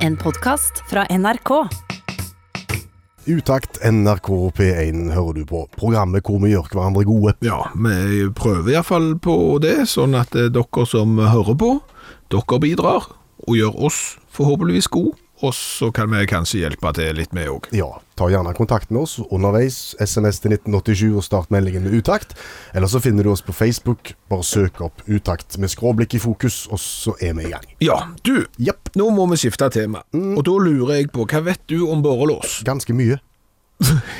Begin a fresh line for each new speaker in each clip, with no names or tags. En podkast fra NRK.
Utakt NRK P1 hører du på. Programmet hvor vi gjør hverandre gode.
Ja, vi prøver iallfall på det, sånn at eh, dere som hører på, dere bidrar og gjør oss forhåpentligvis gode. Og så kan vi kanskje hjelpe til litt, vi òg.
Ja, ta gjerne kontakt med oss underveis. SMS til 1987 og start meldingen med utakt. Eller så finner du oss på Facebook. Bare søk opp utakt med skråblikk i fokus, og så er vi i gang.
Ja, du,
Jepp.
nå må vi skifte tema. Og da lurer jeg på, hva vet du om borrelås?
Ganske mye.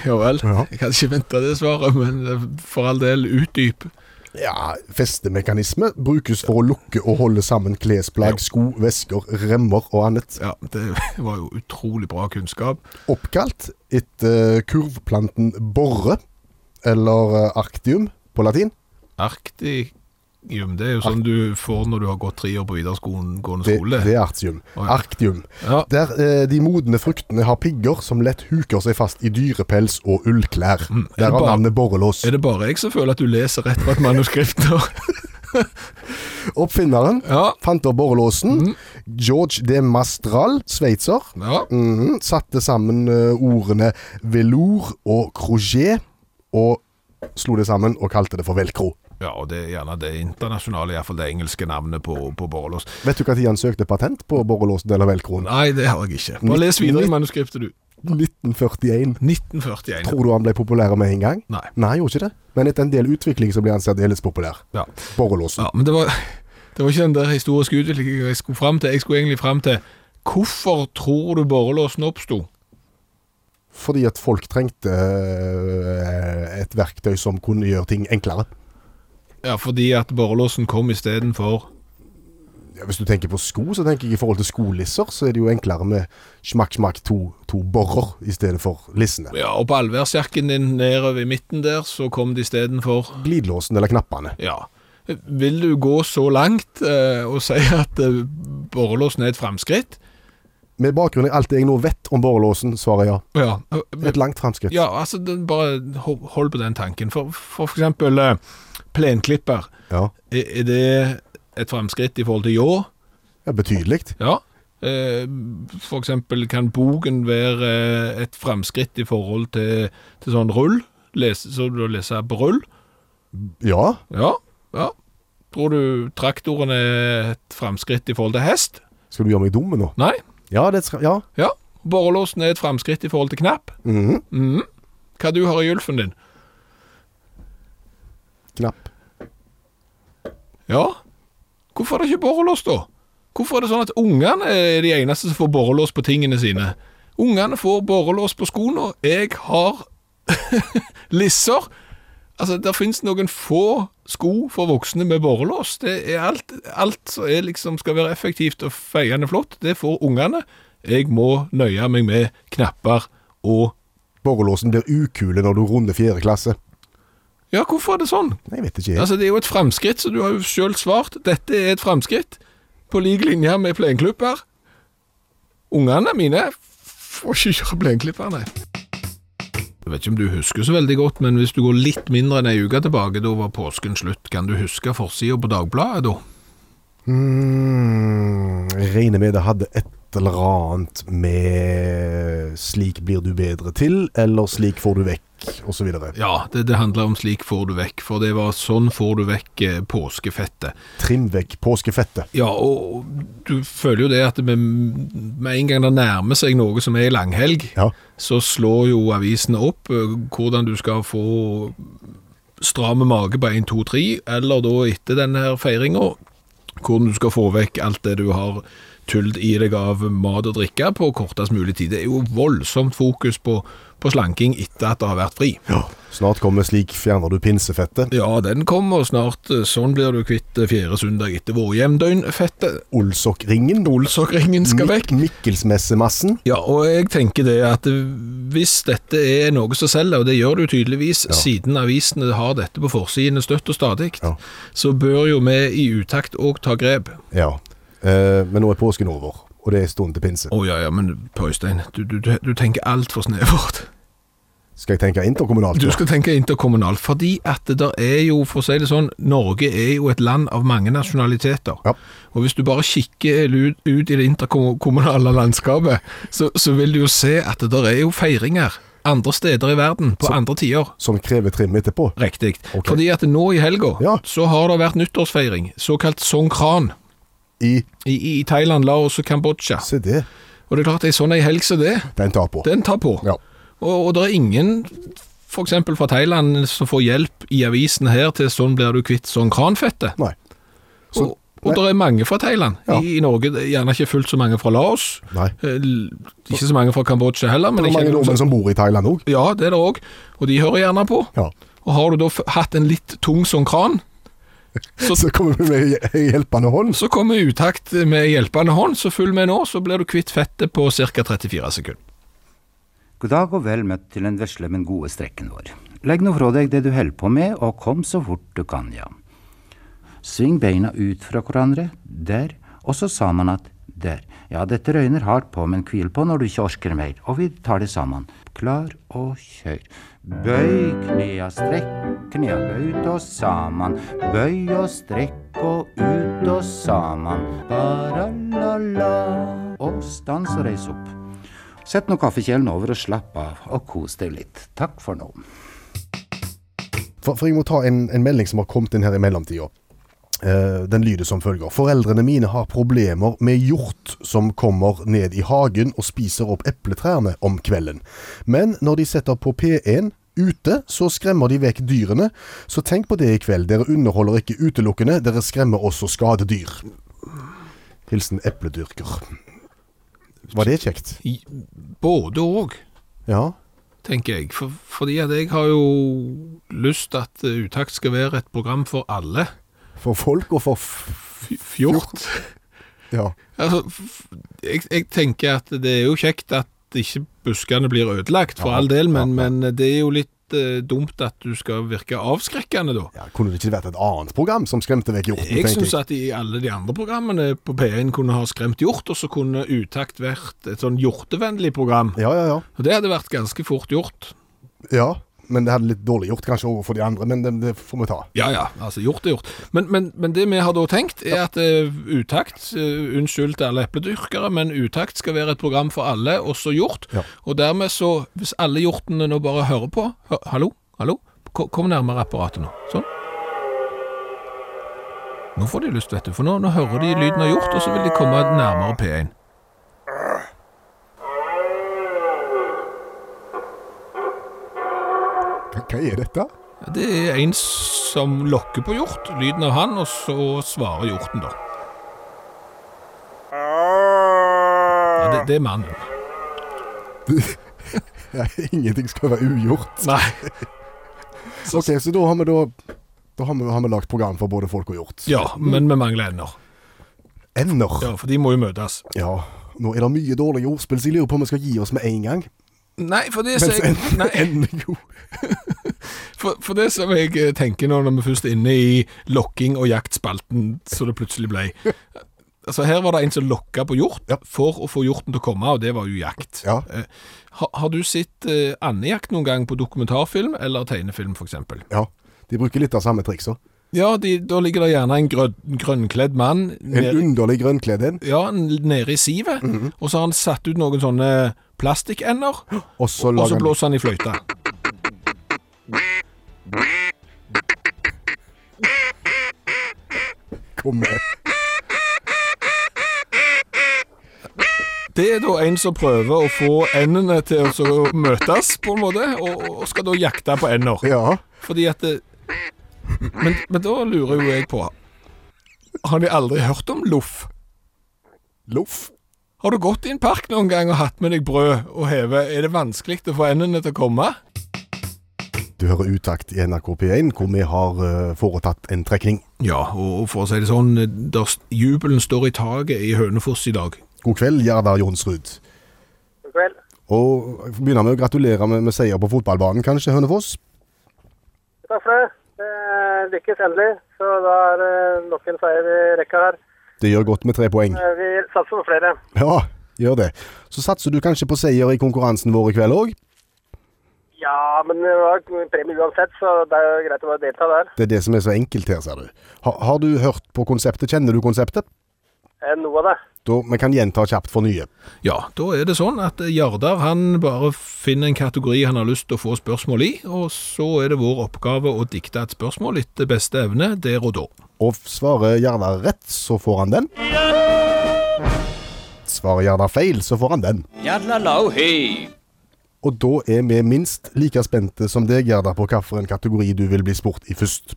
Ja vel,
Ja.
jeg kan ikke vente det svaret, men eh, for all del, utdyp.
Ja, festemekanisme brukes for å lukke og holde sammen klesplagg, sko, vesker, remmer og annet.
Ja, det var jo utrolig bra kunnskap.
Oppkalt etter eh, kurvplanten borre, eller eh, arctium på latin.
Arktikum, det er jo sånn du får når du har gått tre år på videregående
Det,
skole.
det er artium.
Å, ja.
Arctium.
Ja.
Der eh, de modne fruktene har pigger som lett huker seg fast i dyrepels og ullklær.
er det
Der har
bare-
navnet borrelås.
Er det bare jeg som føler at du leser rett fra et manuskript nå?
Oppfinneren
Ja.
fant opp borrelåsen. George de Mastral, sveitser,
ja.
mhm, satte sammen eh, ordene velour og crochet, og slo det sammen og kalte det for velcro.
Ja, og det er gjerne det internasjonale, iallfall det engelske navnet på, på borrelås.
Vet du når han søkte patent på borrelåsen eller velcroen?
Nei, det har jeg ikke. Bare les videre i manuskriptet, du.
1941.
1941.
Tror du han ble populær med en gang?
Nei.
Nei, gjorde ikke det. Men etter en del utvikling så ble han særdeles populær.
Ja.
Borrelåsen.
ja, men det var, det var ikke den der historiske utviklingen jeg skulle fram til. Jeg skulle egentlig fram til hvorfor tror du borrelåsen oppsto?
Fordi at folk trengte eh, et verktøy som kunne gjøre ting enklere.
Ja, fordi at borrelåsen kom istedenfor
Ja, hvis du tenker på sko, så tenker jeg i forhold til skolisser, så er det jo enklere med smakk, smakk, to, to borer i stedet for lissene.
Ja, og på allværsjakken din nedover i midten der, så kom det istedenfor
Glidelåsen eller knappene.
Ja. Vil du gå så langt eh, og si at eh, borrelåsen er et framskritt?
Med bakgrunn i alt det jeg nå vet om borrelåsen, svarer ja.
Ja.
Et langt framskritt.
ja, altså det- bare ho- hold på den tanken. For, for eksempel eh, plenklipper.
Ja.
Er, er det et framskritt i forhold til ljå?
ja Betydelig.
Ja. Eh, For eksempel kan bogen være eh, et framskritt i forhold til, til sånn rull? Lese, så du leser på rull?
Ja.
Ja. ja. Tror du traktoren er et framskritt i forhold til hest?
Skal du gjøre meg dum nå?
Nei.
Ja, det skal Ja.
Ja, borrelåsen er et framskritt i forhold til knapp.
Mhm.
Mhm. Hva du har i gylfen din?
Knapp.
Ja, hvorfor er det ikke borrelås da? Hvorfor er det sånn at ungene er de eneste som får borrelås på tingene sine? Ungene får borrelås på skoene, jeg har lisser. Altså, det finnes noen få sko for voksne med borrelås. Det er alt, alt som er liksom skal være effektivt og feiende flott, det får ungene. Jeg må nøye meg med knapper og
Borrelåsen blir ukule når du runder fjerde klasse.
Ja, hvorfor er det sånn?
Nei, jeg vet ikke. jeg.
Altså, det er jo et fremskritt, så du har jo selv svart. Dette er et fremskritt, på lik linje med plenklipper. Ungene mine får ikke kjøre plenklipper, nei. Jeg vet ikke om du husker så veldig godt, men hvis du går litt mindre enn ei uke tilbake, da var påsken slutt. Kan du huske forsida på Dagbladet da?
Mm, jeg regner med det hadde et eller annet med 'slik blir du bedre til', eller 'slik får du vekk', osv.
Ja, det, det handler om slik får du vekk, for det var sånn får du vekk eh, påskefettet.
Trim vekk påskefettet.
Ja, og du føler jo det at med, med en gang det nærmer seg noe som er langhelg,
Ja.
så slår jo avisene opp eh, hvordan du skal få stramme mage på 1, 2, 3, eller da etter denne her feiringa, hvordan du skal få vekk alt det du har tullet i deg av mat og drikke på kortest mulig tid. Det er jo voldsomt fokus på, på slanking etter at det har vært fri.
Snart kommer 'slik fjerner du pinsefettet'.
Ja, den kommer snart. Sånn blir du kvitt eh, fjerde søndag etter vårhjemdøgnfettet.
Olsokringen.
Olsokringen skal vekk.
Mik Mikkelsmessemassen.
Ja, og jeg tenker det at hvis dette er noe som selger, og det gjør det jo tydeligvis, siden avisene har dette på forsidene støtt og stadig,
Ja.
så bør jo vi i utakt òg ta grep.
Ja. Eh, men nå er påsken over, og det er stund til pinse.
Å ja, ja, men Pøystein, du, du, du tenker altfor snevert.
Skal jeg tenke interkommunalt?
Du
da?
skal tenke interkommunalt, fordi at det der er jo, for å si det sånn, Norge er jo et land av mange nasjonaliteter.
Ja.
Og hvis du bare kikker ut, ut i det interkommunale landskapet, så, så vil du jo se at det der er jo feiringer andre steder i verden, på andre tider.
Som krever trim etterpå?
Riktig.
Ok.
Fordi at nå i helga,
Ja.
så har det vært nyttårsfeiring, såkalt songkran,
I
i, i, i Thailand, Laos og Kambodsja.
Se det.
Og det er klart, ei sånn ei helg som det,
Den tar på.
den tar på.
Ja.
Og, og det er ingen, f.eks. fra Thailand, som får hjelp i avisen her til sånn blir du kvitt sånn kranfette.
Nei. Så-
og og det er mange fra Thailand.
Ja.
I, I Norge det er gjerne ikke fullt så mange fra Laos.
Nei.
Eh, l- Ikke så mange fra Kambodsja heller. Men
Det er
jeg
mange
kjenner noen
nordmenn som bor i Thailand òg.
som- Ja, det er det òg. Og de hører gjerne på.
Ja.
Og har du da f hatt en litt tung sånn kran,
Så kommer vi med hj- hjelpende hånd.
så kommer utakt med hjelpende hånd. Så følg med nå, så blir du kvitt fettet på ca. 34 sekunder.
God dag og vel møtt til den vesle, men gode strekken vår. Legg nå fra deg det du holder på med, og kom så fort du kan, ja. Sving beina ut fra hverandre, der, og så sammen at der. Ja, dette røyner hardt på, men hvil på når du ikke orker mer, og vi tar det sammen. Klar og kjør. Bøy knea, strekk knea, bøy ut og sammen. Bøy og strekk og ut og sammen. Ba-ra-la-la. Og stans og reis opp. Sett nå kaffekjelen over og slapp av, og kos deg litt. Takk for nå.
For, for jeg må ta en, en melding som har kommet inn her i mellomtida. Eh, den lyder som følger. Foreldrene mine har problemer med hjort som kommer ned i hagen og spiser opp epletrærne om kvelden. Men når de setter på P1 ute, så skremmer de vekk dyrene. Så tenk på det i kveld. Dere underholder ikke utelukkende, dere skremmer også skadedyr. Hilsen epledyrker. Var det kjekt?
I- Både òg.
Ja.
tenker jeg. For, fordi at jeg har jo lyst at eh, Utakt skal være et program for alle.
For folk og for f...
F- Fjort.
Ja.
Altså, f- jeg, jeg tenker at det er jo kjekt at ikke buskene blir ødelagt, for
Ja,
all del, men,
ja, ja.
men det er jo litt eh, dumt at du skal virke avskrekkende, da.
ja. Kunne det ikke vært et annet program som skremte vekk hjorten?
Jeg
tenker
syns at i alle de andre programmene på P1 kunne ha skremt hjort, og så kunne Utakt vært et sånn hjortevennlig program.
Ja, ja, ja.
Og det hadde vært ganske fort gjort.
Ja, men det hadde litt dårlig gjort kanskje overfor de andre, men det, det får vi ta.
Ja, ja, altså gjort er gjort. Men, men, men det vi har da tenkt er at eh, utakt, eh, unnskyld til alle epledyrkere, men utakt skal være et program for alle, også hjort.
Ja.
Og dermed så, hvis alle hjortene nå bare hører på, hø hallo, hallo, ko- kom nærmere apparatet nå, sånn. Nå får de lyst, vet du, for nå, nå hører de lyden av hjort, og så vil de komme nærmere P1.
Hva, hva er dette?
Ja, Det er en som lokker på hjort, lyden av han, og så svarer hjorten da. Ja, det, det er mannen.
Ja, ingenting skal være ugjort.
Nei.
Ok, så da har vi da da har vi, har vi lagt program for både folk og hjort.
Ja, men vi mangler ender.
Ender. Ja.
Ja, for de må jo møtes.
Nå er det mye dårlige ordspill, så jeg lurer på om vi skal gi oss med en gang.
Nei, for det som
Mens
jeg,
en-
nei,
ender jo
for, for det som jeg eh, tenker nå når vi først er inne i lokking og jaktspalten, så det plutselig ble Altså Her var det en som lokka på hjort
Ja.
for å få hjorten til å komme, og det var jo jakt.
Ja.
Eh, ha, har du sett eh, andejakt noen gang på dokumentarfilm eller tegnefilm f.eks.?
Ja. De bruker litt av samme triksa.
Ja, de, da ligger det gjerne en grød, grønnkledd mann
En
ned-
underlig grønnkledd en,
ja, n- nede i sivet, og så har han satt ut noen sånne plastikkender.
Mhm. og så
Og så
lager han
blåser han i fløyta.
komme.
Det er da en som prøver å få endene til å så møtes, på en måte, og, og skal da jakte på ender.
Ja.
Fordi at det, men, men da lurer jo jeg på Har de aldri hørt om loff?
Loff.
Har du gått i en park noen gang og hatt med deg brød og heve? Er det vanskelig å få endene til å komme?
Du hører utakt i NRK P1, hvor vi har eh, foretatt en trekning.
Ja, og for å si det sånn, der, s- jubelen står i taket i Hønefoss i dag.
God kveld, Gerda Jonsrud.
God kveld.
Og jeg begynner med å gratulere med, med seier på fotballbanen, kanskje, Hønefoss?
Takk for det. Eh, lykkes endelig. Så da er det nok en seier i rekka her.
Det gjør godt med tre poeng.
Eh, vi satser på flere.
Ja, gjør det. Så satser du kanskje på seier i konkurransen vår i kveld òg?
Ja, Ja, men det var premie uansett, så det er jo greit å bare delta der.
Det er det som er så enkelt her, ser du. Har, har du hørt på konseptet? Kjenner du konseptet?
Eh, Noe av det.
Da, vi kan gjenta kjapt for nye.
Ja, da er det sånn at Jardar han bare finner en kategori han har lyst til å få spørsmål i, og så er det vår oppgave å dikte et spørsmål etter beste evne der og da.
Og svarer Jardar rett, så får han den. Svarer Jardar feil, så får han den.
Yadlalau hei.
Og da er vi minst like spente som deg, Jardar, på hvilken kategori du vil bli spurt i først.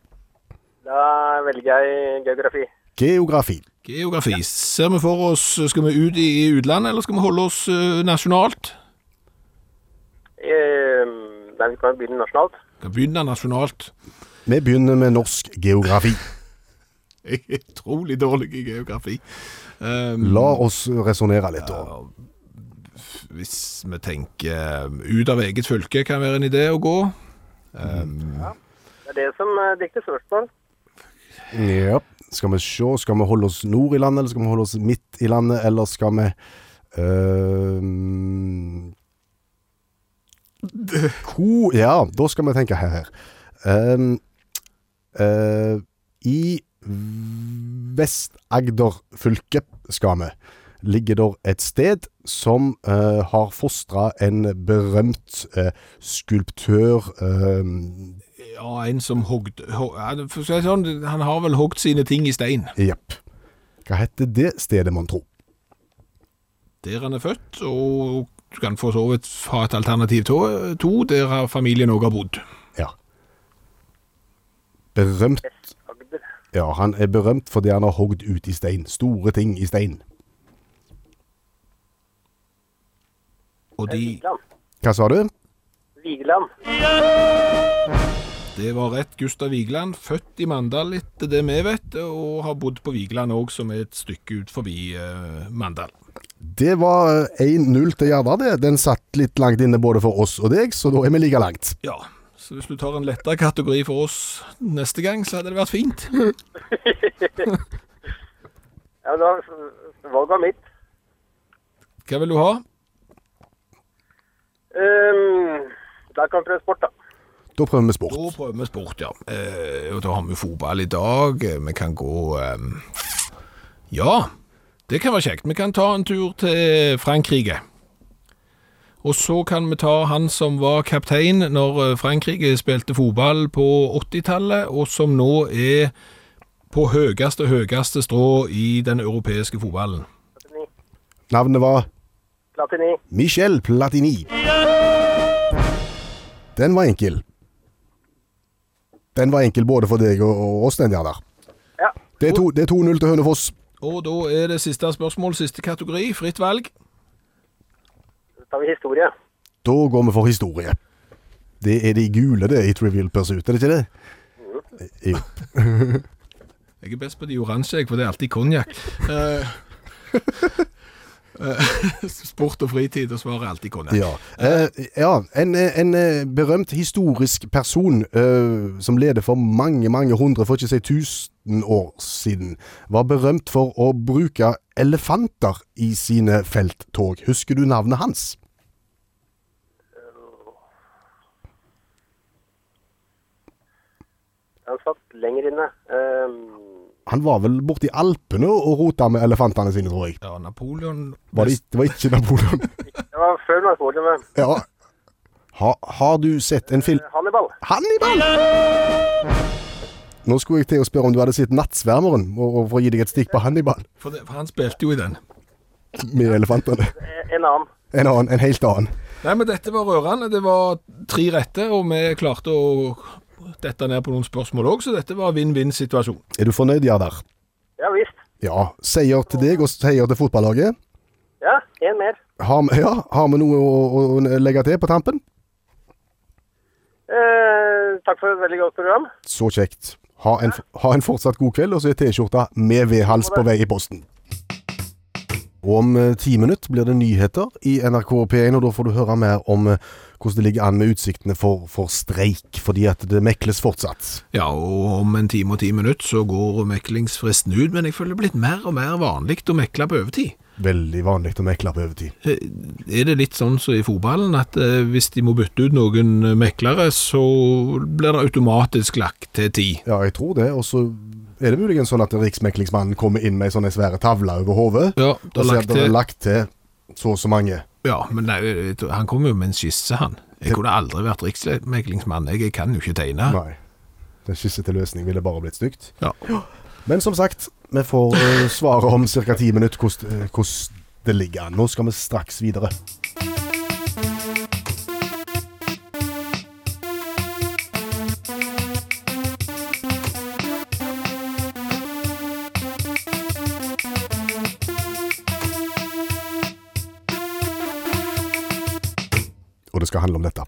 Da velger jeg geografi.
Geografi.
Geografi. Ser vi for oss, skal vi ut i i utlandet, eller skal vi holde oss eh, nasjonalt?
Eh, Nei, vi kan jo begynne nasjonalt.
Vi kan begynne nasjonalt.
Vi begynner med norsk geografi.
Jeg er utrolig dårlig i geografi. Um,
La oss resonnere litt. da.
hvis vi tenker um, ut av eget fylke, kan være en idé å gå. Um,
Det er det som eh, dikter spørsmål.
Ja. Skal vi se, skal vi holde oss nord i landet, eller skal vi holde oss midt i landet, eller skal vi øhm, Ko... Ja, da skal vi tenke her. her. Øhm, øh, I Vest-Agder fylke skal vi. Ligger der et sted som øh, har fostra en berømt øh, skulptør øhm,
Ja, en som hogd hog, ja, det- for å si det sånn, Han har vel hogd sine ting i stein.
Jepp. Hva heter det stedet, mon tro?
Der han er født, og du kan for så vidt ha et alternativ to, to der har familien òg har bodd.
Ja. Berømt
Agder.
Ja, han er berømt fordi han har hogd ut i stein. Store ting i stein.
Og de,
Vigeland.
Hva sa du?
Vigeland.
det var rett Gustav Vigeland, født i Mandal etter det vi vet, og har bodd på Vigeland òg, som er et stykke ut forbi eh, Mandal.
Det var eh, 1-0 til Gjerda, det. Den satt litt langt inne både for oss og deg, så da er vi like langt.
Ja, så hvis du tar en lettere kategori for oss neste gang, så hadde det vært fint.
Ja, men det var valget var mitt.
Hva vil du ha?
Um, da kan vi prøve sport, da.
Da prøver vi
Da
sport.
prøver vi sport, ja. Eh, og da har vi jo fotball i dag. Eh, Vi kan gå ehm, Ja, det kan være kjekt. Vi kan ta en tur til Frankrike. Og så kan vi ta han som var kaptein når eh, Frankrike spilte fotball på 80-tallet, og som nå er på høyeste, høyeste strå i den europeiske fotballen.
Platini.
Navnet var
Platini.
Michel Platini. Den var enkel. Den var enkel både for deg og, og oss, den Gjerda.
Ja.
Det er to- det er 2-0 til Hønefoss.
Og da er det siste spørsmål, siste kategori, fritt valg.
Så tar vi historie.
Da går vi for historie. Det er de gule, det, i Trivial Pursuit, er det ikke det? Jo.
Jeg er best på de oransje, jeg, for det er alltid konjakk. Eh, eh, Sport og fritid, og svaret er alltid konjakk.
Ja, eh, ja en, en eh, berømt historisk person eh, som levde for mange, mange hundre, for ikke å si tusen år siden, var berømt for å bruke elefanter i sine felttog. Husker du navnet hans?
Han satt lenger inne. Um,
Han var vel borti Alpene og rota med elefantene sine, tror jeg.
Ja, Napoleon
Var det, det var ikke Napoleon.
det var før Napoleon. men
ja. ha, har du sett en film
Hannibal.
Hannibal! Nå skulle jeg til å spørre om du hadde sett Nattsvermeren, og, og for å gi deg et stikk på Hannibal
for, det, for han spilte jo i den.
med elefantene.
Eh, En annen.
En annen, en helt annen.
Nei, men dette var rørende. Det var tre rette, og vi klarte å dette ned på noen spørsmål òg, så dette var vinn-vinn-situasjon.
Er du fornøyd, Jardar?
Ja visst.
Ja. Seier til deg og seier til fotballaget.
Ja, en mer.
Har, vi- ja, har vi noe å, å, å legge til på tampen?
Eh, takk for et veldig godt program.
Så kjekt. Ha en, ha en fortsatt god kveld, og så er T-skjorta med V-hals på vei i posten. Og om eh, ti minutter blir det nyheter i NRK P1, og da får du høre mer om eh, hvordan det ligger an med utsiktene for, for streik, fordi at det mekles fortsatt.
Ja, og om en time og ti minutter så går meklingsfristen ut, men jeg føler det er blitt mer og mer vanlig å mekle på overtid.
Veldig vanlig å mekle på overtid.
Eh, Er det litt sånn som i fotballen, at eh, hvis de må bytte ut noen eh, meklere, så blir det automatisk lagt til ti?
Ja, jeg tror det. Og så er det muligens sånn at Riksmeklingsmannen kommer inn med ei sånn ei svære tavle over hodet.
Ja,
Og
det
så
er
er
lagt
det
til.
lagt til så og så mange.
Ja, men nei, jeg tror- han kom jo med en skisse, han. Jeg kunne aldri vært riksmeklingsmann, jeg, jeg kan jo ikke tegne.
Nei. Den skisse til løsning ville bare blitt stygt.
Ja.
Men som sagt, vi får eh, svare om ca. ti minutter hvordan eh, hvordan det ligger an. Nå skal vi straks videre. Og det skal handle om dette.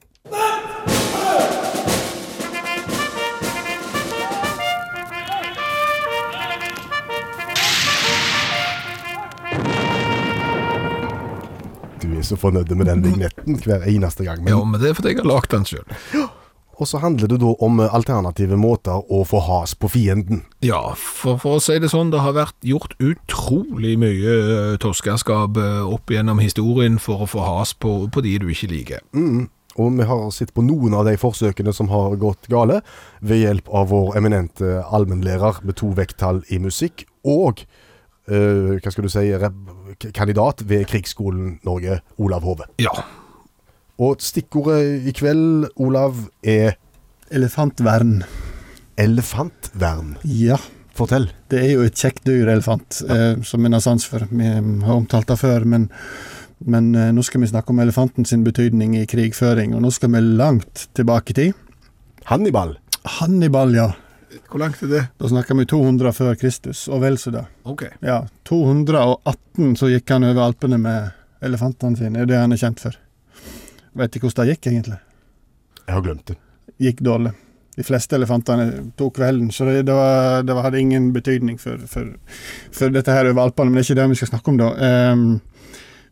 Du er så fornøyd med den vignetten hver eneste gang. Men
ja, men det er fordi jeg har lagd den sjøl.
Og så handler det da om eh, alternative måter å få has på fienden.
Ja, for, for å si det sånn, det har vært gjort utrolig mye eh, toskeskap eh, opp gjennom historien for å få has på, på de du ikke liker.
Og vi har sett på noen av de forsøkene som har gått gale, ved hjelp av vår eminente allmennlærer med to vekttall i musikk, og eh, hva skal du si, rep- k- kandidat ved Krigsskolen Norge, Olav Hove.
Ja.
Og stikkordet i kveld, Olav, er
Elefantvern.
elefantvern.
Ja.
Fortell.
Det er jo et kjekt dyr, elefant, eh, som en har sans for. Vi har omtalt det før, men, men eh, nå skal vi snakke om elefanten sin betydning i krigføring. Og nå skal vi langt tilbake i tid.
Hannibal.
Hannibal, ja.
Hvor langt er det?
Da snakker vi 200 før Kristus, og vel så det.
Ok.
Ja, 218 så gikk han over Alpene med elefantene sine, det er det han er kjent for. Vet ikke hvordan det gikk, egentlig.
Jeg har glemt det.
gikk dårlig. De fleste elefantene tok kvelden, så det, det, var, det hadde ingen betydning for, for, for dette her over Alpene. Men det er ikke det vi skal snakke om, da. Ehm,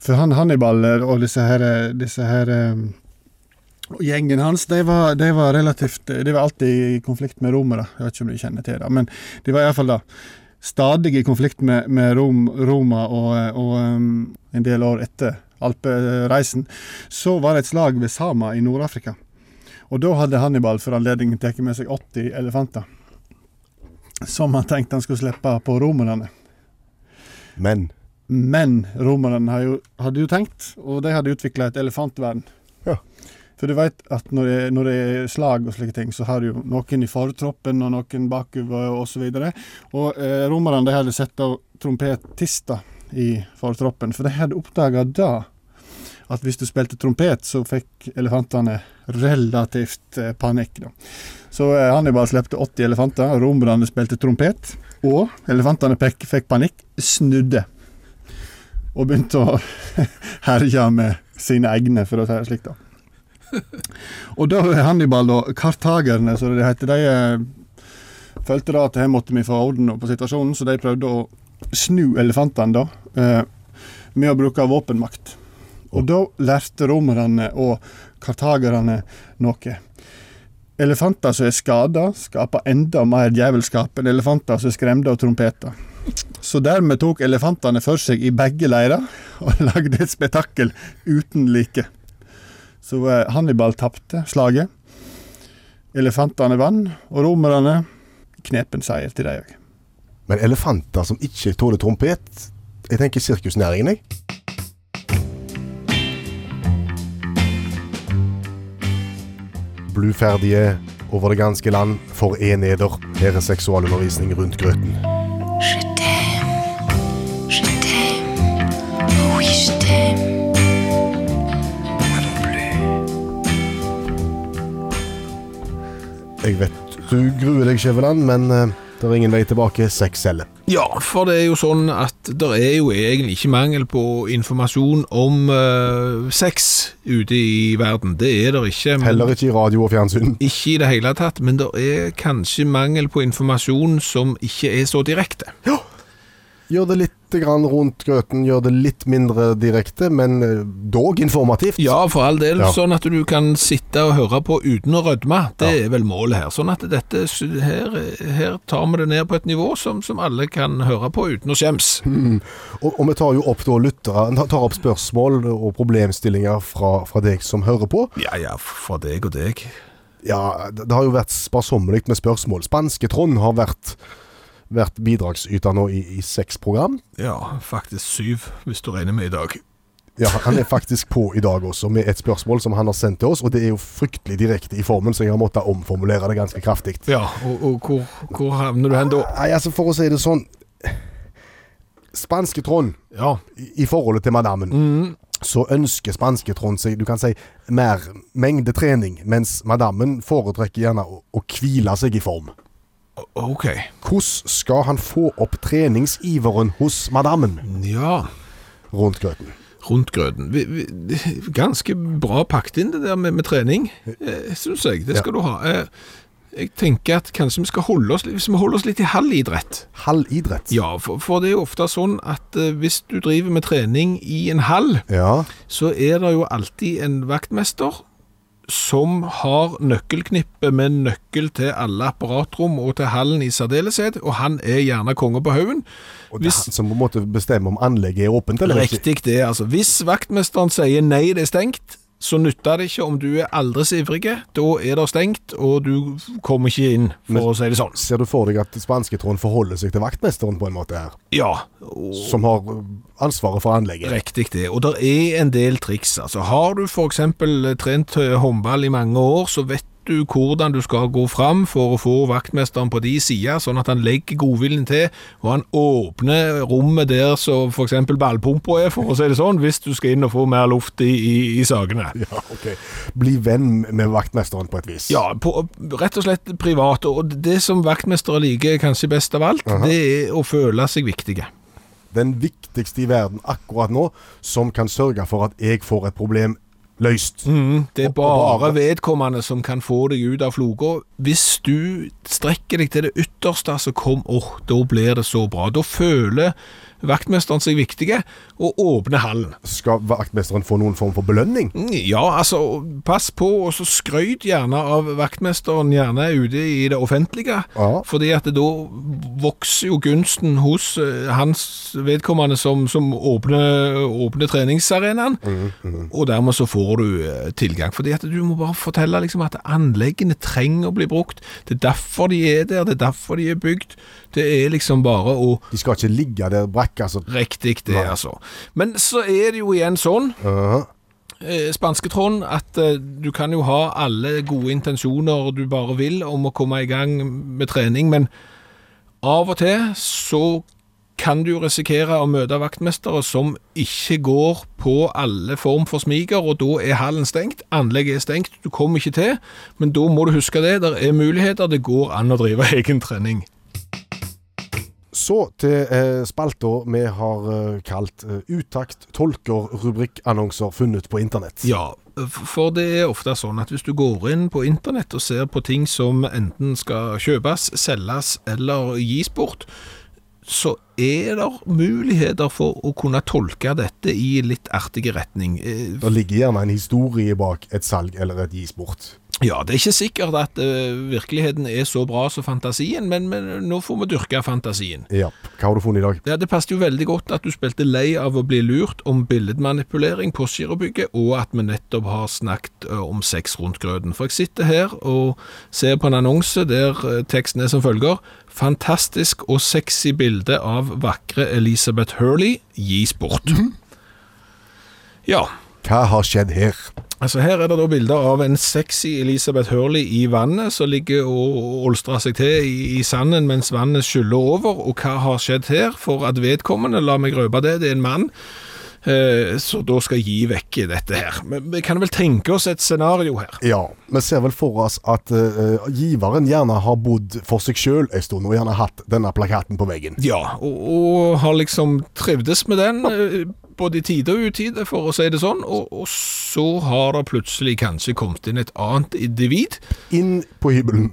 for han Hannibal og disse her, disse her ehm, og Gjengen hans de var, de var relativt De var alltid i konflikt med romere. Jeg vet ikke om du kjenner til det, men de var iallfall da stadig i konflikt med, med Rom, Roma og, og ehm, en del år etter alpereisen. Så var det et slag ved Sama i Nord-Afrika. Og da hadde Hannibal for anledningen tatt med seg 80 elefanter. Som han tenkte han skulle slippe på romerne.
Men
Men romerne har jo- hadde jo tenkt, og de hadde utvikla et elefantvern.
Ja.
For du veit at når det, når det er slag og slike ting, så har du jo noen i fortroppen og noen bakover og så videre. Og eh, romerne de hadde sett av trompetister i fortroppen, for de hadde oppdaga da at hvis du spilte trompet, så fikk elefantene relativt eh, panikk. Da. Så eh, Hannibal slepte 80 elefanter, romerne spilte trompet, og elefantene pek, fikk panikk, snudde og begynte å herje med sine egne, for å si det slik. da. Og da er Hannibal og kartagerne, som det heter, de eh, følte da at her måtte vi få orden på situasjonen, så de prøvde å snu elefantene da, eh, med å bruke våpenmakt. Og da lærte romerne og kartagerne noe. Elefanter som er skada, skaper enda mer djevelskap enn elefanter som er skremte av trompeter. Så dermed tok elefantene for seg i begge leirer og lagde et spetakkel uten like. Så eh, Hannibal tapte slaget. Elefantene vant, og romerne knepen seier til dem òg.
Men elefanter som ikke tåler trompet Jeg tenker sirkusnæringen, jeg. Bluferdige over det ganske land for en eder. Her er seksualundervisning rundt grøten.
Je t'aime, je t'aime, oh oui je t'aime.
Jeg vet du gruer deg, Skjæveland, men eh, det er ingen vei tilbake. Seks celler.
Ja, for det er jo sånn at det er jo egentlig ikke mangel på informasjon om eh, sex ute i verden. Det er det ikke. men-
Heller ikke i radio og fjernsyn.
Ikke i det hele tatt, men det er kanskje mangel på informasjon som ikke er så direkte.
Gjør det litt grann rundt grøten, gjør det litt mindre direkte, men eh, dog informativt.
Ja, for all del,
Ja.
sånn at du kan sitte og høre på uten å rødme. Det er vel målet her. Sånn at dette her, her tar vi det ned på et nivå som, som alle kan høre på uten å skjems.
Og, og vi tar jo opp da lyttere, tar opp spørsmål og problemstillinger fra, fra deg som hører på.
Ja ja, fra deg og deg.
Ja, det det har jo vært sparsommelig med spørsmål. Spanske Trond har vært, vært bidragsyter nå i, i seks program.
Ja, faktisk syv, hvis du regner med i dag.
Ja, Han er faktisk på i dag også, med et spørsmål som han har sendt til oss. Og det er jo fryktelig direkte i formen, så jeg har måttet omformulere det ganske kraftig.
Ja, og, og hvor, hvor havner du hen da?
Nei, altså for å si det sånn Spanske Trond,
Ja, Mm.
i i forholdet til madammen, så ønsker spanske Trond seg du kan si, mer mengdetrening, mens madammen foretrekker gjerne å, å hvile seg i form.
o- ok.
Hvordan skal han få opp treningsiveren hos madammen
Ja,
rundt grøten?
rundt grøten. Vi, vi, ganske bra pakket inn det der med, med trening, eh, synes jeg. Det skal du ha. Eh, jeg tenker at kanskje vi skal holde oss, litt- hvis vi holder oss litt i halvidrett.
Halvidrett?
Ja, for, for det er jo ofte sånn at eh, hvis du driver med trening i en hall,
Ja,
så er det jo alltid en vaktmester som har nøkkelknippet med nøkkel til alle apparatrom og til hallen i særdeleshet, og han er gjerne konge på haugen.
og det er
Hvis-
han som på en måte bestemmer om anlegget er åpent eller ikke.
Riktig det, altså. Hvis vaktmesteren sier nei, det er stengt, så nytter det ikke om du er aldri så ivrig. Da er det stengt, og du kommer ikke inn, for
Men-
å si det sånn.
Ser du for deg at spanske Trond forholder seg til vaktmesteren på en måte her,
Ja,
som har ansvaret for anlegget?
Riktig det, og det er en del triks. Altså, har du for eksempel trent eh, håndball i mange år, så vet du hvordan du skal gå fram for å få vaktmesteren på de sida, sånn at han legger godviljen til, og han åpner rommet der som for eksempel ballpumpa er, for å si det sånn, hvis du skal inn og få mer luft i, i, i sagene.
Ja, ok. Bli venn med vaktmesteren på et vis.
Ja, på, rett og slett privat, og det som vaktmestere liker kanskje best av alt, det er å føle seg viktige.
Den viktigste i verden akkurat nå, som kan sørge for at jeg får et problem løst.
Mm, det er
Og- og
bare
bare-
vedkommende som kan få deg ut av floka. Hvis du strekker deg til det ytterste, så kom åh, da blir det så bra. Da føler vaktmesteren seg viktige, og åpner hallen.
Skal vaktmesteren få noen form for belønning?
Mm, Ja, altså, pass på, og så skryt gjerne av vaktmesteren, gjerne ute i det offentlige.
Ja.
Fordi at da vokser jo gunsten hos eh, hans vedkommende som, som åpner, åpner treningsarenaen,
Mm,
og dermed så får du eh, tilgang. Fordi at du må bare fortelle liksom at anleggene trenger å bli brukt. Det er derfor de er der, det er derfor de er bygd. Det er liksom bare å
De skal ikke ligge der brakk, altså.
Riktig det,
Nei.
altså. Men så er det jo igjen sånn
Uh,
eh, spanske Trond, at eh, du kan jo ha alle gode intensjoner du bare vil om å komme i gang med trening, men av og til så kan du jo risikere å møte vaktmestere som ikke går på alle form for smiger, og da er hallen stengt, anlegget er stengt, du kommer ikke til, men da må du huske det, der er muligheter, det går an å drive egen trening.
Så til eh, spalta vi har eh, kalt eh, Utakt tolker rubrikkannonser funnet på internett.
Ja, for det er ofte sånn at hvis du går inn på internett og ser på ting som enten skal kjøpes, selges eller gis bort, så er det muligheter for å kunne tolke dette i litt artige retning. Eh,
Det ligger gjerne en historie bak et salg eller et gis bort.
Ja, det er ikke sikkert at eh, virkeligheten er så bra som fantasien, men, men nå får vi dyrke fantasien.
Ja. Hva har du funnet i dag?
Ja, Det passet jo veldig godt at du spilte lei av å bli lurt om billedmanipulering på Skirobygget, og at vi nettopp har snakket ø, om sex rundt grøten. For jeg sitter her og ser på en annonse der ø, teksten er som følger Fantastisk og sexy bilde av vakre Elisabeth Hurley gis bort. Ja,
Hva har skjedd her?
altså her er det da bilder av en sexy Elisabeth Hurley i vannet, som ligger og og olstrer seg til i, i sanden mens vannet skyller over, og hva har skjedd her? For at vedkommende, la meg røpe det, det er en mann, eh, så da skal jeg gi vekk dette her. Men vi kan vel tenke oss et scenario her.
Ja, vi ser vel for oss at eh, eh, giveren gjerne har bodd for seg sjøl en stund, og gjerne hatt denne plakaten på veggen.
Ja, og, og har liksom trivdes med den, eh, både i tide og utide, for å si det sånn, og, og så har det plutselig kanskje kommet inn et annet individ,
Inn på hybelen.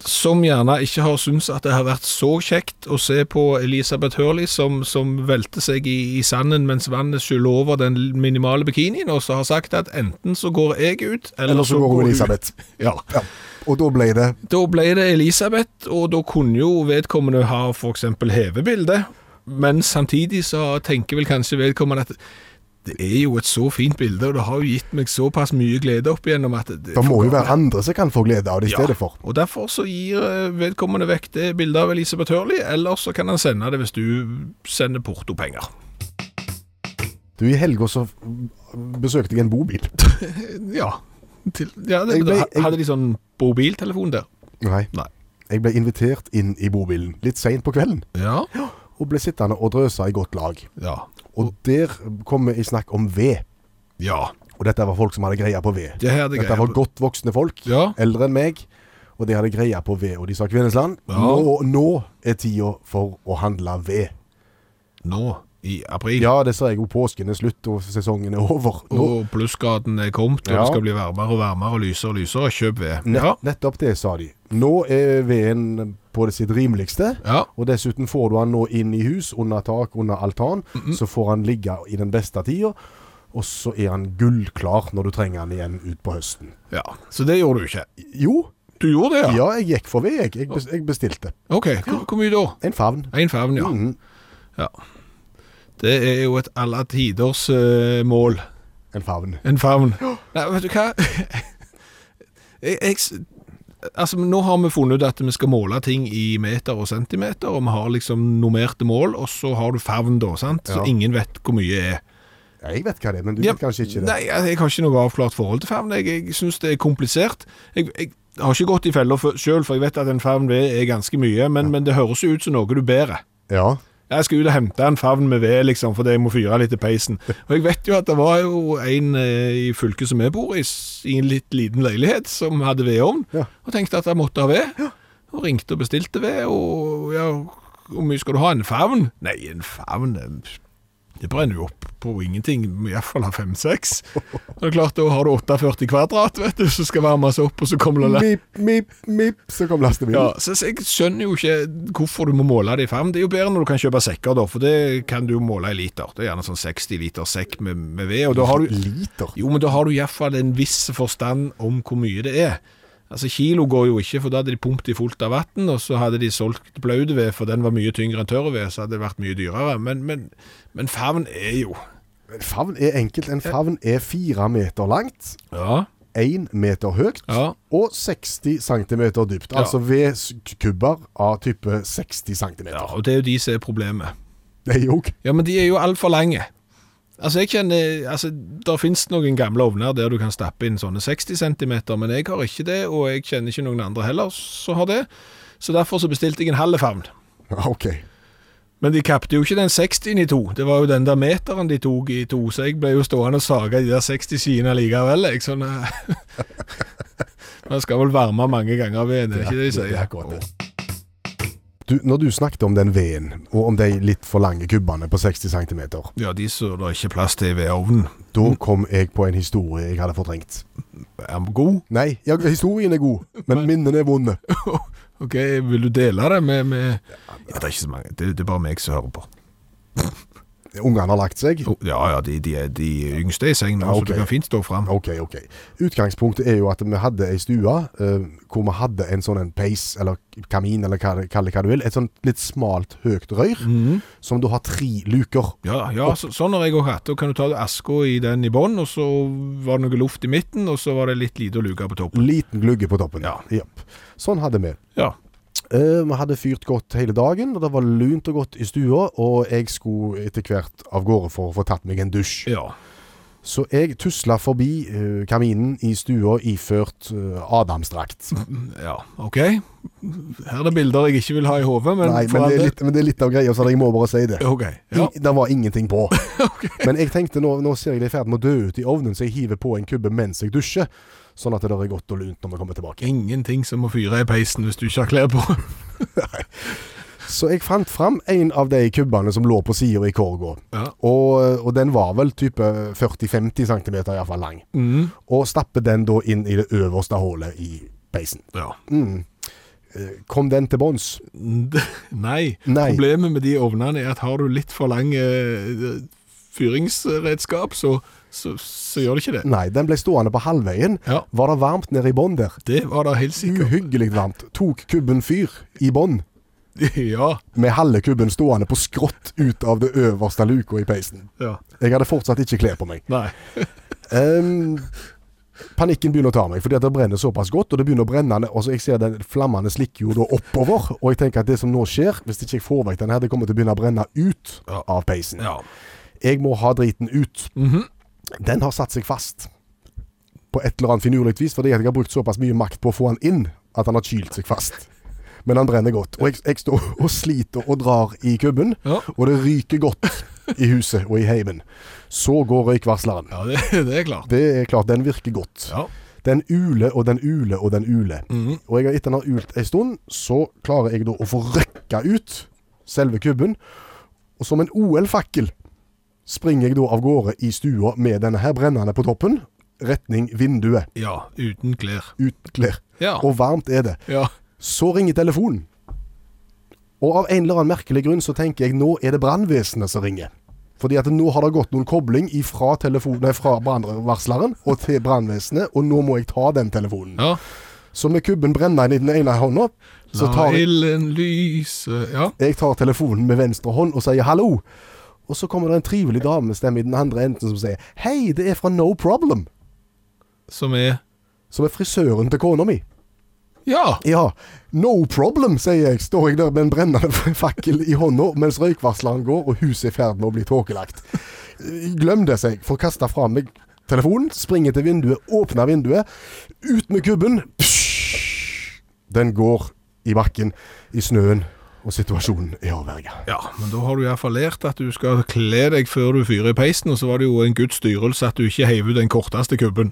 som gjerne ikke har syntes at det har vært så kjekt å se på Elisabeth Hurley som, som velter seg i, i sanden mens vannet skyller over den minimale bikinien, og så har sagt at enten så går jeg ut, eller,
Eller så går
hun
Elisabeth.
Ja.
Ja. Og da ble det
Da ble det Elisabeth, og da kunne jo vedkommende ha f.eks. hevebildet, men samtidig så tenker vel kanskje vedkommende at det er jo et så fint bilde, og det har jo gitt meg såpass mye glede opp igjennom at det,
Det må jo være andre som kan få glede av det i
Ja,
stedet for.
Og derfor så gir eh, vedkommende vekk det bildet av Elisabeth Hurley, eller så kan han sende det hvis du sender portopenger.
Du, I helga så besøkte jeg en bobil.
Ja. Til, ja det,
Jeg ble- jeg-
hadde de sånn mobiltelefon der?
Nei.
Nei.
Jeg ble invitert inn i bobilen litt seint på kvelden,
Ja.
og ble sittende og drøse i godt lag.
Ja.
Og der kom vi i snakk om ved.
ja.
Og dette var folk som hadde greie på ved.
Det her er det
Dette var godt voksne folk,
Ja.
eldre enn meg, og de hadde greie på ved. Og de sa Kvinnesland,
Ja.
nå, nå er tida for å handle ved.
Nå i april,
Ja, det ser jeg jo. Påsken er slutt, og sesongen er over. Nå,
og plussgraden er kommet, og
Ja.
det skal bli varmere og varmere og lysere og lysere. Kjøp ved.
ne
Ja.
Nettopp det, sa de. Nå er veden på sitt rimeligste.
ja.
Og dessuten får du han nå inn i hus, under tak, under altan. Så får han ligge i den beste tida, og så er han gullklar når du trenger han igjen ut på høsten.
Ja. Så det gjorde du ikke.
Jo,
Du gjorde det,
ja,
ja?
jeg gikk for ved, jeg. Jeg, bes jeg bestilte.
OK. Hvor, hvor mye da?
En favn.
Én favn, ja.
Mhm.
ja. Det er jo et alle tiders eh, mål.
En favn.
En favn. Nei, vet du hva? jeg, jeg, s- altså, nå har vi funnet ut at vi skal måle ting i meter og centimeter, og vi har liksom normerte mål, og så har du favn da, sant?
Ja.
Så ingen vet hvor mye er.
Ja, jeg vet hva det er, men du
Ja,
vet kanskje ikke det.
Nei, jeg, jeg har ikke noe avklart forhold til favn. Jeg, jeg synes det er komplisert. Jeg, jeg har ikke gått i feller for, selv, for jeg vet at en favn ved er ganske mye, men, men det høres jo ut som noe du bærer.
Ja.
Jeg skal ut og hente en favn med ved, liksom, fordi jeg må fyre litt i peisen. Og jeg vet jo at det var jo en eh, i fylket som jeg bor i, s- i en litt liten leilighet, som hadde vedovn,
Ja.
og tenkte at jeg måtte ha ved. Og ringte og bestilte ved, og ja, hvor mye skal du ha? En favn? Nei, en favn eh, Det brenner jo opp på ingenting. Du må iallfall ha fem-seks. Og det er klart, da har du 48 kvadrat, vet du, som skal varmes opp, og så kommer det
Mip, mip, mip, så kom
ja,
lastebilen.
så så Jeg skjønner jo ikke hvorfor du må måle det i favn. Det er jo bedre når du kan kjøpe sekker, da, for det kan du jo måle i liter. Det er gjerne sånn 60 liter sekk med, med ved. og da har du,
Liter.
Jo, men da har du iallfall en viss forstand om hvor mye det er. Altså Kilo går jo ikke, for da hadde de pumpet i fullt av vann, og så hadde de solgt blaudved, for den var mye tyngre enn tørrved, så hadde det vært mye dyrere. Men, men, men favn er jo
En favn er enkelt. En favn er fire meter langt,
Ja.
én meter høyt
Ja.
og 60 cm dypt.
Ja.
Altså vedkubber av type 60 cm.
ja og det er jo de som er problemet.
Det er jo
Ja, men de er jo altfor lange. Altså, jeg kjenner, altså, der finnes noen gamle ovner der du kan stappe inn sånne 60 cm, men jeg har ikke det, og jeg kjenner ikke noen andre heller som har det. Så derfor så bestilte jeg en halv favn.
Ja, OK.
Men de kappte jo ikke den 60-en i to, det var jo den der meteren de tok i to, så jeg ble jo stående og saga de der 60 sidene likevel, jeg, sånn eh. Man skal vel varme mange ganger ved en, er det ikke det de sier?
Det er akkurat det. Du, når du snakket om den veden, og om de litt for lange kubbene på 60 cm,
Ja, de som det er ikke plass til ved ovnen,
da kom jeg på en historie jeg hadde fortrengt.
er god.
Nei, ja, historien er god, men minnene er vonde.
Ok, vil du dele det med, med... Ja, det er ikke så mange, det, det er bare meg som hører på.
Ungene har lagt seg.
Oh, Ja, ja, de, de, er- de yngste er i seng nå,
Ja,
så
ok.
du kan fint stå frem.
Ok, ok. Utgangspunktet er jo at vi hadde ei stue eh, hvor vi hadde en sånn en peis, eller kamin, eller hva, det- kall det hva du vil. Et sånt litt smalt, høyt rør,
Mhm.
som da har tre luker.
Ja, ja så, sånn har jeg også hatt. Da kan du ta aska i den i bånn, og så var det noe luft i midten, og så var det litt lite å luke på toppen.
Liten glugge på toppen.
Ja.
Japp. Sånn hadde vi.
Ja,
Eh, vi hadde fyrt godt hele dagen, og det var lunt og godt i stua, og jeg skulle etter hvert av gårde for å få tatt meg en dusj.
ja,
Så jeg tusla forbi eh, kaminen i stua iført eh, Adamsdrakt.
ja, ok. Her er det bilder jeg ikke vil ha i hovedet, men...
Nei,
for
men
all
det, er
del-
litt, men det er litt av greia, så jeg må bare si det.
Ok, ja.
In, det var ingenting på. Men jeg tenkte nå, nå ser jeg det i ferd med å dø ut i ovnen, så jeg hiver på en kubbe mens jeg dusjer. Sånn at det er godt og lunt når vi kommer tilbake.
Ingenting som å fyre i peisen hvis du ikke har klær på.
Så jeg fant fram en av de kubbene som lå på sida i korga.
Ja.
Og, og den var vel type 40-50 cm iallfall lang.
Mm.
Og stappet den da inn i det øverste hullet i peisen.
Ja,
Mm. Eh, Kom den til bunns?
Nei.
Nei.
Problemet med de ovnene er at har du litt for lang eh, fyringsredskap, så, så, så gjør det ikke det.
Nei, den ble stående på halvveien.
Ja.
Var det varmt nede i bånn der?
Det var da helt sikkert.
Uhyggelig varmt. Tok kubben fyr i bånn,
ja.
med halve kubben stående på skrått ut av det øverste luka i peisen.
ja.
Jeg hadde fortsatt ikke klær på meg.
Nei.
Ehm, panikken begynner å ta meg, fordi at det brenner såpass godt. Og det begynner å brenne, og så jeg ser den flammene slikker jo da oppover. Og jeg tenker at det som nå skjer, hvis ikke jeg får vekk den her, det kommer til å begynne å brenne ut
Ja.
av peisen.
Ja.
Jeg må ha driten ut.
Mhm.
Den har satt seg fast på et eller annet finurlig vis, fordi at jeg har brukt såpass mye makt på å få han inn at han har kylt seg fast. Men han brenner godt. Og jeg, jeg står og sliter og drar i kubben,
Ja.
og det ryker godt i huset og i heimen. Så går røykvarsleren.
ja, det, det er klart.
Det er klart, den virker godt.
Ja.
Den uler og den uler og den uler.
Mhm.
Og jeg, har- etter den har ult ei stund, så klarer jeg da å få røkka ut selve kubben. Og som en OL-fakkel springer jeg da av gårde i stua med denne her brennende på toppen. Retning vinduet.
ja. Uten klær.
Uten klær.
Ja.
Og varmt er det.
ja.
Så ringer telefonen. Og av en eller annen merkelig grunn så tenker jeg nå er det brannvesenet som ringer. Fordi at nå har det gått noen kobling ifra telefonen- nei, fra brannvarsleren og til brannvesenet, og nå må jeg ta den telefonen.
ja.
Så med kubben brenner i den ene hånda, så
La
tar jeg,
ilden lyse Ja.
jeg tar telefonen med venstre hånd og sier hallo. Og så kommer det en trivelig damestemme i den andre enden som sier hei, det er fra No Problem,
Som er
som er frisøren til kona mi.
Ja.
Ja, no problem, sier jeg. Står jeg der med en brennende fakkel i hånda mens røykvarsleren går og huset er i ferd med å bli tåkelagt. Glem det, sier jeg. Får kasta fra meg telefonen, springer til vinduet, åpner vinduet. Ut med kubben. Psj! Den går i bakken, i snøen, og situasjonen er avverga.
Ja, men da har du iallfall lært at du skal kle deg før du fyrer i peisen, og så var det jo en guds styrelse at du ikke heiv ut den korteste kubben.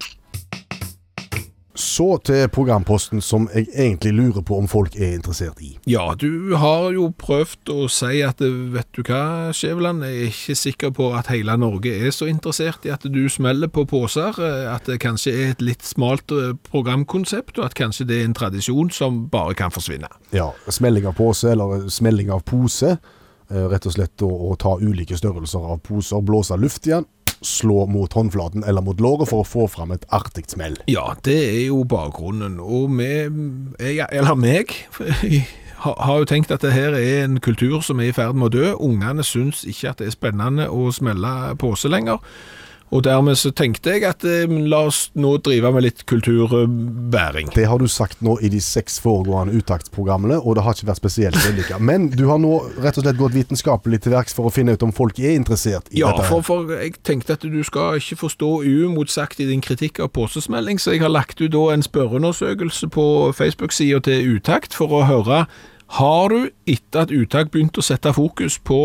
Så til programposten som jeg egentlig lurer på om folk er interessert i.
Ja, du har jo prøvd å si at eh, vet du hva, Skjæveland, jeg er ikke sikker på at hele Norge er så interessert i at du smeller på poser, eh, at det kanskje er et litt smalt eh, programkonsept, og at kanskje det er en tradisjon som bare kan forsvinne.
Ja, smelling av pose, eller eh, smelling av pose. Eh, Rett og slett å, å ta ulike størrelser av poser, blåse luft igjen, slå mot håndflaten eller mot låret for å få fram et artig smell.
Ja, det er jo bakgrunnen, og vi, jeg, eller meg, har har jo tenkt at det her er en kultur som er i ferd med å dø. Ungene syns ikke at det er spennende å smelle pose lenger. Og dermed så tenkte jeg at eh, la oss nå drive med litt kulturbæring.
Det har du sagt nå i de seks foregående uttaktsprogrammene, og det har ikke vært spesielt vellykka. Men du har nå rett og slett gått vitenskapelig til verks for å finne ut om folk er interessert i
Ja,
dette. her.
for, for jeg tenkte at du skal ikke forstå uimotsagt i din kritikk av påsesmelding, så jeg har lagt ut da en spørreundersøkelse på Facebook-sida til Utakt for å høre har du, etter at Utakt begynte å sette fokus på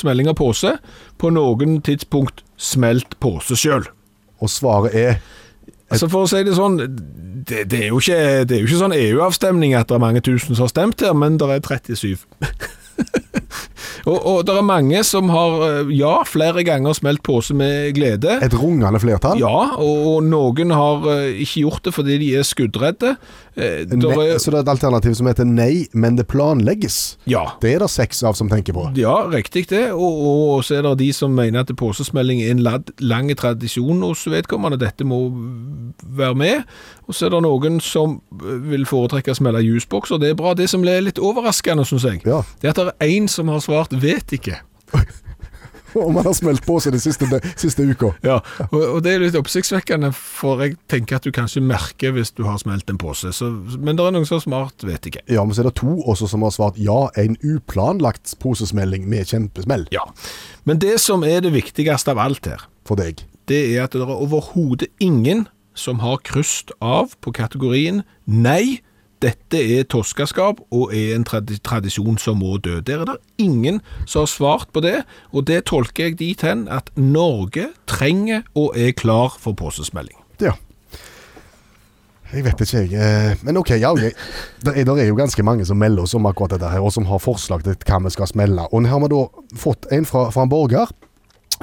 smelling av påse, på noen tidspunkt smelt påse sjøl?
Og svaret er
Altså For å si det sånn, det, det, er, jo ikke, det er jo ikke sånn EU-avstemning at det er mange tusen som har stemt her, men det er 37. og, og det er mange som har, eh, ja, flere ganger smelt pose med glede.
et rungende flertall.
Ja, og noen har eh, ikke gjort det fordi de er skuddredde. Eh, der
Ne-
er,
Så det er et alternativ som heter nei, men det planlegges.
ja,
Det er det seks av som tenker på.
Ja, riktig det. Og, og, og så er det de som mener at påsesmelling er en lad, lang tradisjon hos vedkommende. Dette må være med. Og så er det noen som eh, vil foretrekke å smelle jusbokser. Det er bra. Det som er litt overraskende, syns jeg,
Ja.
det er at det er én som har svart 'vet ikke'.
Og man har smelt på seg de siste, de siste uka.
Ja, og, og det er litt oppsiktsvekkende, for jeg tenker at du kanskje merker hvis du har smelt en pose. Så, men det er noen som har smart 'vet ikke'.
Ja, men så er det to også som har svart ja, en uplanlagt posesmelling med kjempesmell
Ja. Men det som er det viktigste av alt her,
for deg.
det er at det er overhodet ingen som har kryst av på kategorien nei, dette er toskaskap og er en tradi tradisjon som må dø. Der er det ingen som har svart på det, og det tolker jeg dit hen at Norge trenger og er klar for påsesmelding.
Ja. Jeg vet ikke, jeg. eh, Men OK, ja. Jeg, der, er, der er jo ganske mange som melder oss om akkurat dette her, og som har forslag til hva vi skal smelle. Og her har vi da fått en fra, fra en borger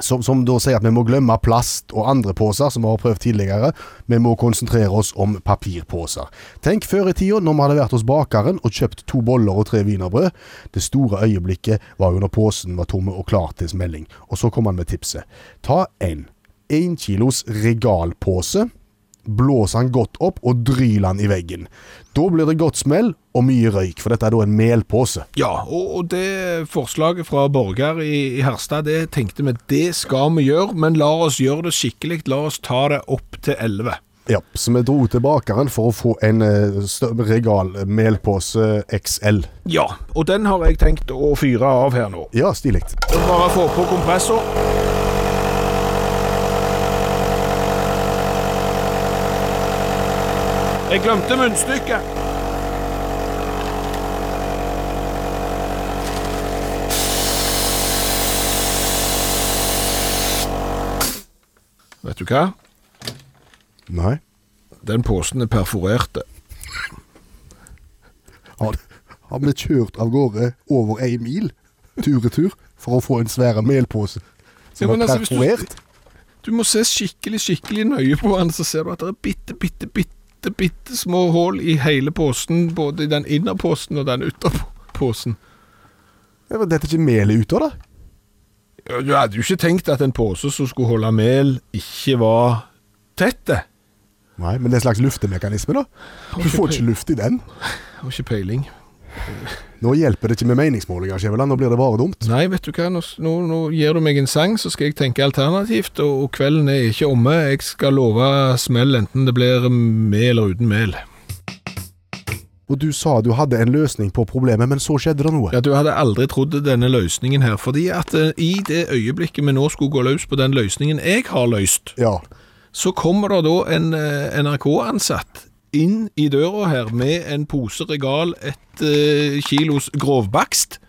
som, som da sier at vi må glemme plast og andre poser, som vi har prøvd tidligere. Vi må konsentrere oss om papirposer. Tenk før i tida, når vi hadde vært hos bakeren og kjøpt to boller og tre wienerbrød. Det store øyeblikket var jo når posen var tomme og klar til smelling. Og så kom han med tipset. Ta en én kilos regalpose. Blås han godt opp og dryl han i veggen. Da blir det godt smell og mye røyk, for dette er da en melpose.
Ja, og, og det forslaget fra Borgar i, i Herstad, det tenkte vi det skal vi gjøre, men la oss gjøre det skikkelig. La oss ta det opp til 11.
Ja, så vi dro til bakeren for å få en eh, stø- regalmelpose XL.
Ja, og den har jeg tenkt å fyre av her nå.
Ja, stilig.
Bare få på kompressor. Jeg glemte munnstykket. Vet du hva?
Nei.
Den posen er perforerte.
Har, har vi kjørt av gårde over ei mil, tur-retur, for å få en svær melpose
Ja,
som
men
var
altså, hvis du-
perforert?
Du må se skikkelig, skikkelig nøye på den, så ser du at det er bitte, bitte, bitte, bitte små hål i hele posen, både i den innerposen og den uterposen.
Ja, men dette er ikke melet ute av, da?
Ja, Du hadde jo ikke tenkt at en pose som skulle holde mel, ikke var tett, det.
Nei, men det er en slags luftemekanisme, da. Du får ikke luft i den.
Har ikke peiling.
Nå hjelper det ikke med meningsmålinger, Skjæveland. Nå blir det bare dumt.
Nei, vet du hva, nå, nå, nå gir du meg en sang, så skal jeg tenke alternativt, og, og kvelden er ikke omme. Jeg skal love smell, enten det blir med eller uten mel.
Og du sa du hadde en løsning på problemet, men så skjedde det noe.
Ja, Du hadde aldri trodd denne løsningen her, fordi at eh, i det øyeblikket vi nå skulle gå løs på den løsningen jeg har løst,
Ja.
så kommer det da en eh, NRK-ansatt inn i døra her med en pose regal, et eh, kilos grovbakst,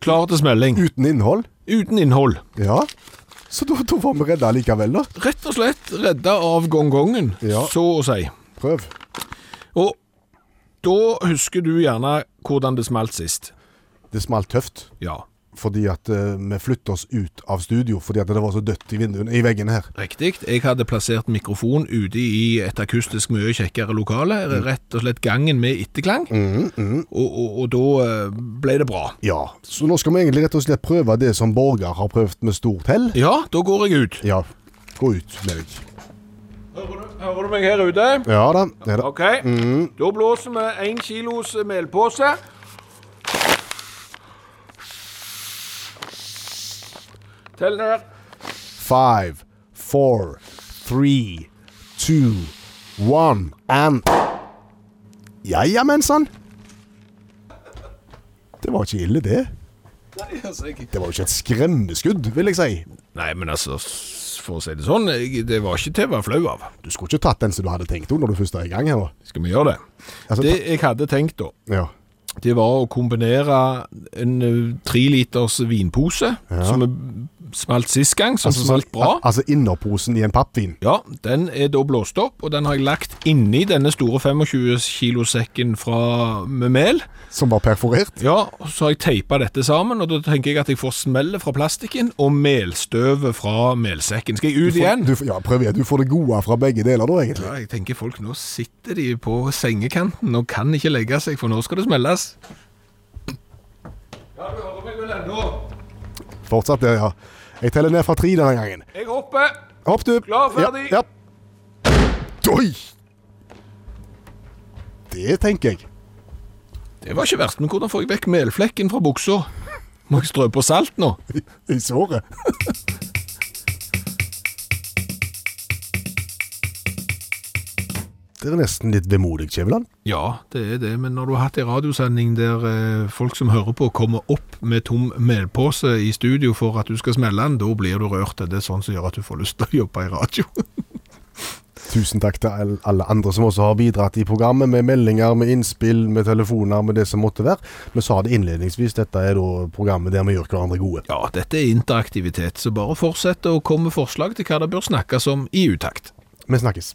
klar til smelling,
Uten innhold.
uten innhold.
Ja. Så da, da var vi redda likevel, da.
Rett og slett redda av gongongen,
Ja.
så å si.
Prøv.
Og da husker du gjerne hvordan det smalt sist.
Det smalt tøft.
Ja,
Fordi at eh, vi flyttet oss ut av studio fordi at det var så dødt i vinduene, i veggen her.
Riktig. Jeg hadde plassert mikrofon ute i et akustisk mye kjekkere lokale.
Mm.
Rett og slett gangen med etterklang. Og, og, og da eh, ble det bra.
Ja. Så nå skal vi egentlig rett og slett prøve det som Borgar har prøvd med stort hell.
Ja, da går jeg ut.
Ja. Gå ut med deg.
Hører du, meg her ute?
Ja da. Det er det.
OK.
Mm.
Da blåser vi én kilos melpose. Tell ned.
Five, four, three, two, one, and Ja ja, men sann. Det var ikke ille, det. Det var jo ikke et skremmeskudd, vil jeg si.
Nei, men altså, s- for å si det sånn, jeg, det var ikke til å være flau av.
Du skulle ikke tatt den som du hadde tenkt om når du først er i gang her. da.
Skal vi gjøre det?
Altså,
Det jeg hadde tenkt, da
Ja.
Det var å kombinere en eh, tre liters vinpose, som er smalt sist gang, som smalt bra.
al- altså innerposen i en pappvin.
Ja, den er da blåst opp, og den har jeg lagt inni denne store 25 kilo-sekken fra med mel.
Som var perforert?
Ja, og så har jeg teipa dette sammen, og da tenker jeg at jeg får smellet fra plastikken og melstøvet fra melsekken. Skal jeg ut igjen?
Du, får- ja, prøv igjen. Du får det gode fra begge deler da, egentlig.
Ja, jeg tenker folk, nå sitter de på sengekanten og kan ikke legge seg, for nå skal det smelles. Ja, du hører meg vel ennå.
Fortsatt det, ja. Jeg teller ned fra tre denne gangen.
Jeg hopper.
Hopp, du.
Klar, ferdig.
Ja, ja. Oi! Det tenker jeg.
Det var ikke verst, men hvordan får jeg vekk melflekken fra buksa? Må jeg strø på salt nå?
I, i såret. Det er nesten litt vemodig, Kjeveland.
Ja, det er det, men når du har hatt en radiosending der eh, folk som hører på kommer opp med tom melpose i studio for at du skal smelle den, da blir du rørt. Det er sånn som gjør at du får lyst til å jobbe i radio.
Tusen takk til all- alle andre som også har bidratt i programmet, med meldinger, med innspill, med telefoner, med det som måtte være. Vi sa det innledningsvis, dette er da programmet der vi gjør hverandre gode.
Ja, dette er interaktivitet, så bare fortsett å komme med forslag til hva det bør snakkes om i utakt.
Vi snakkes.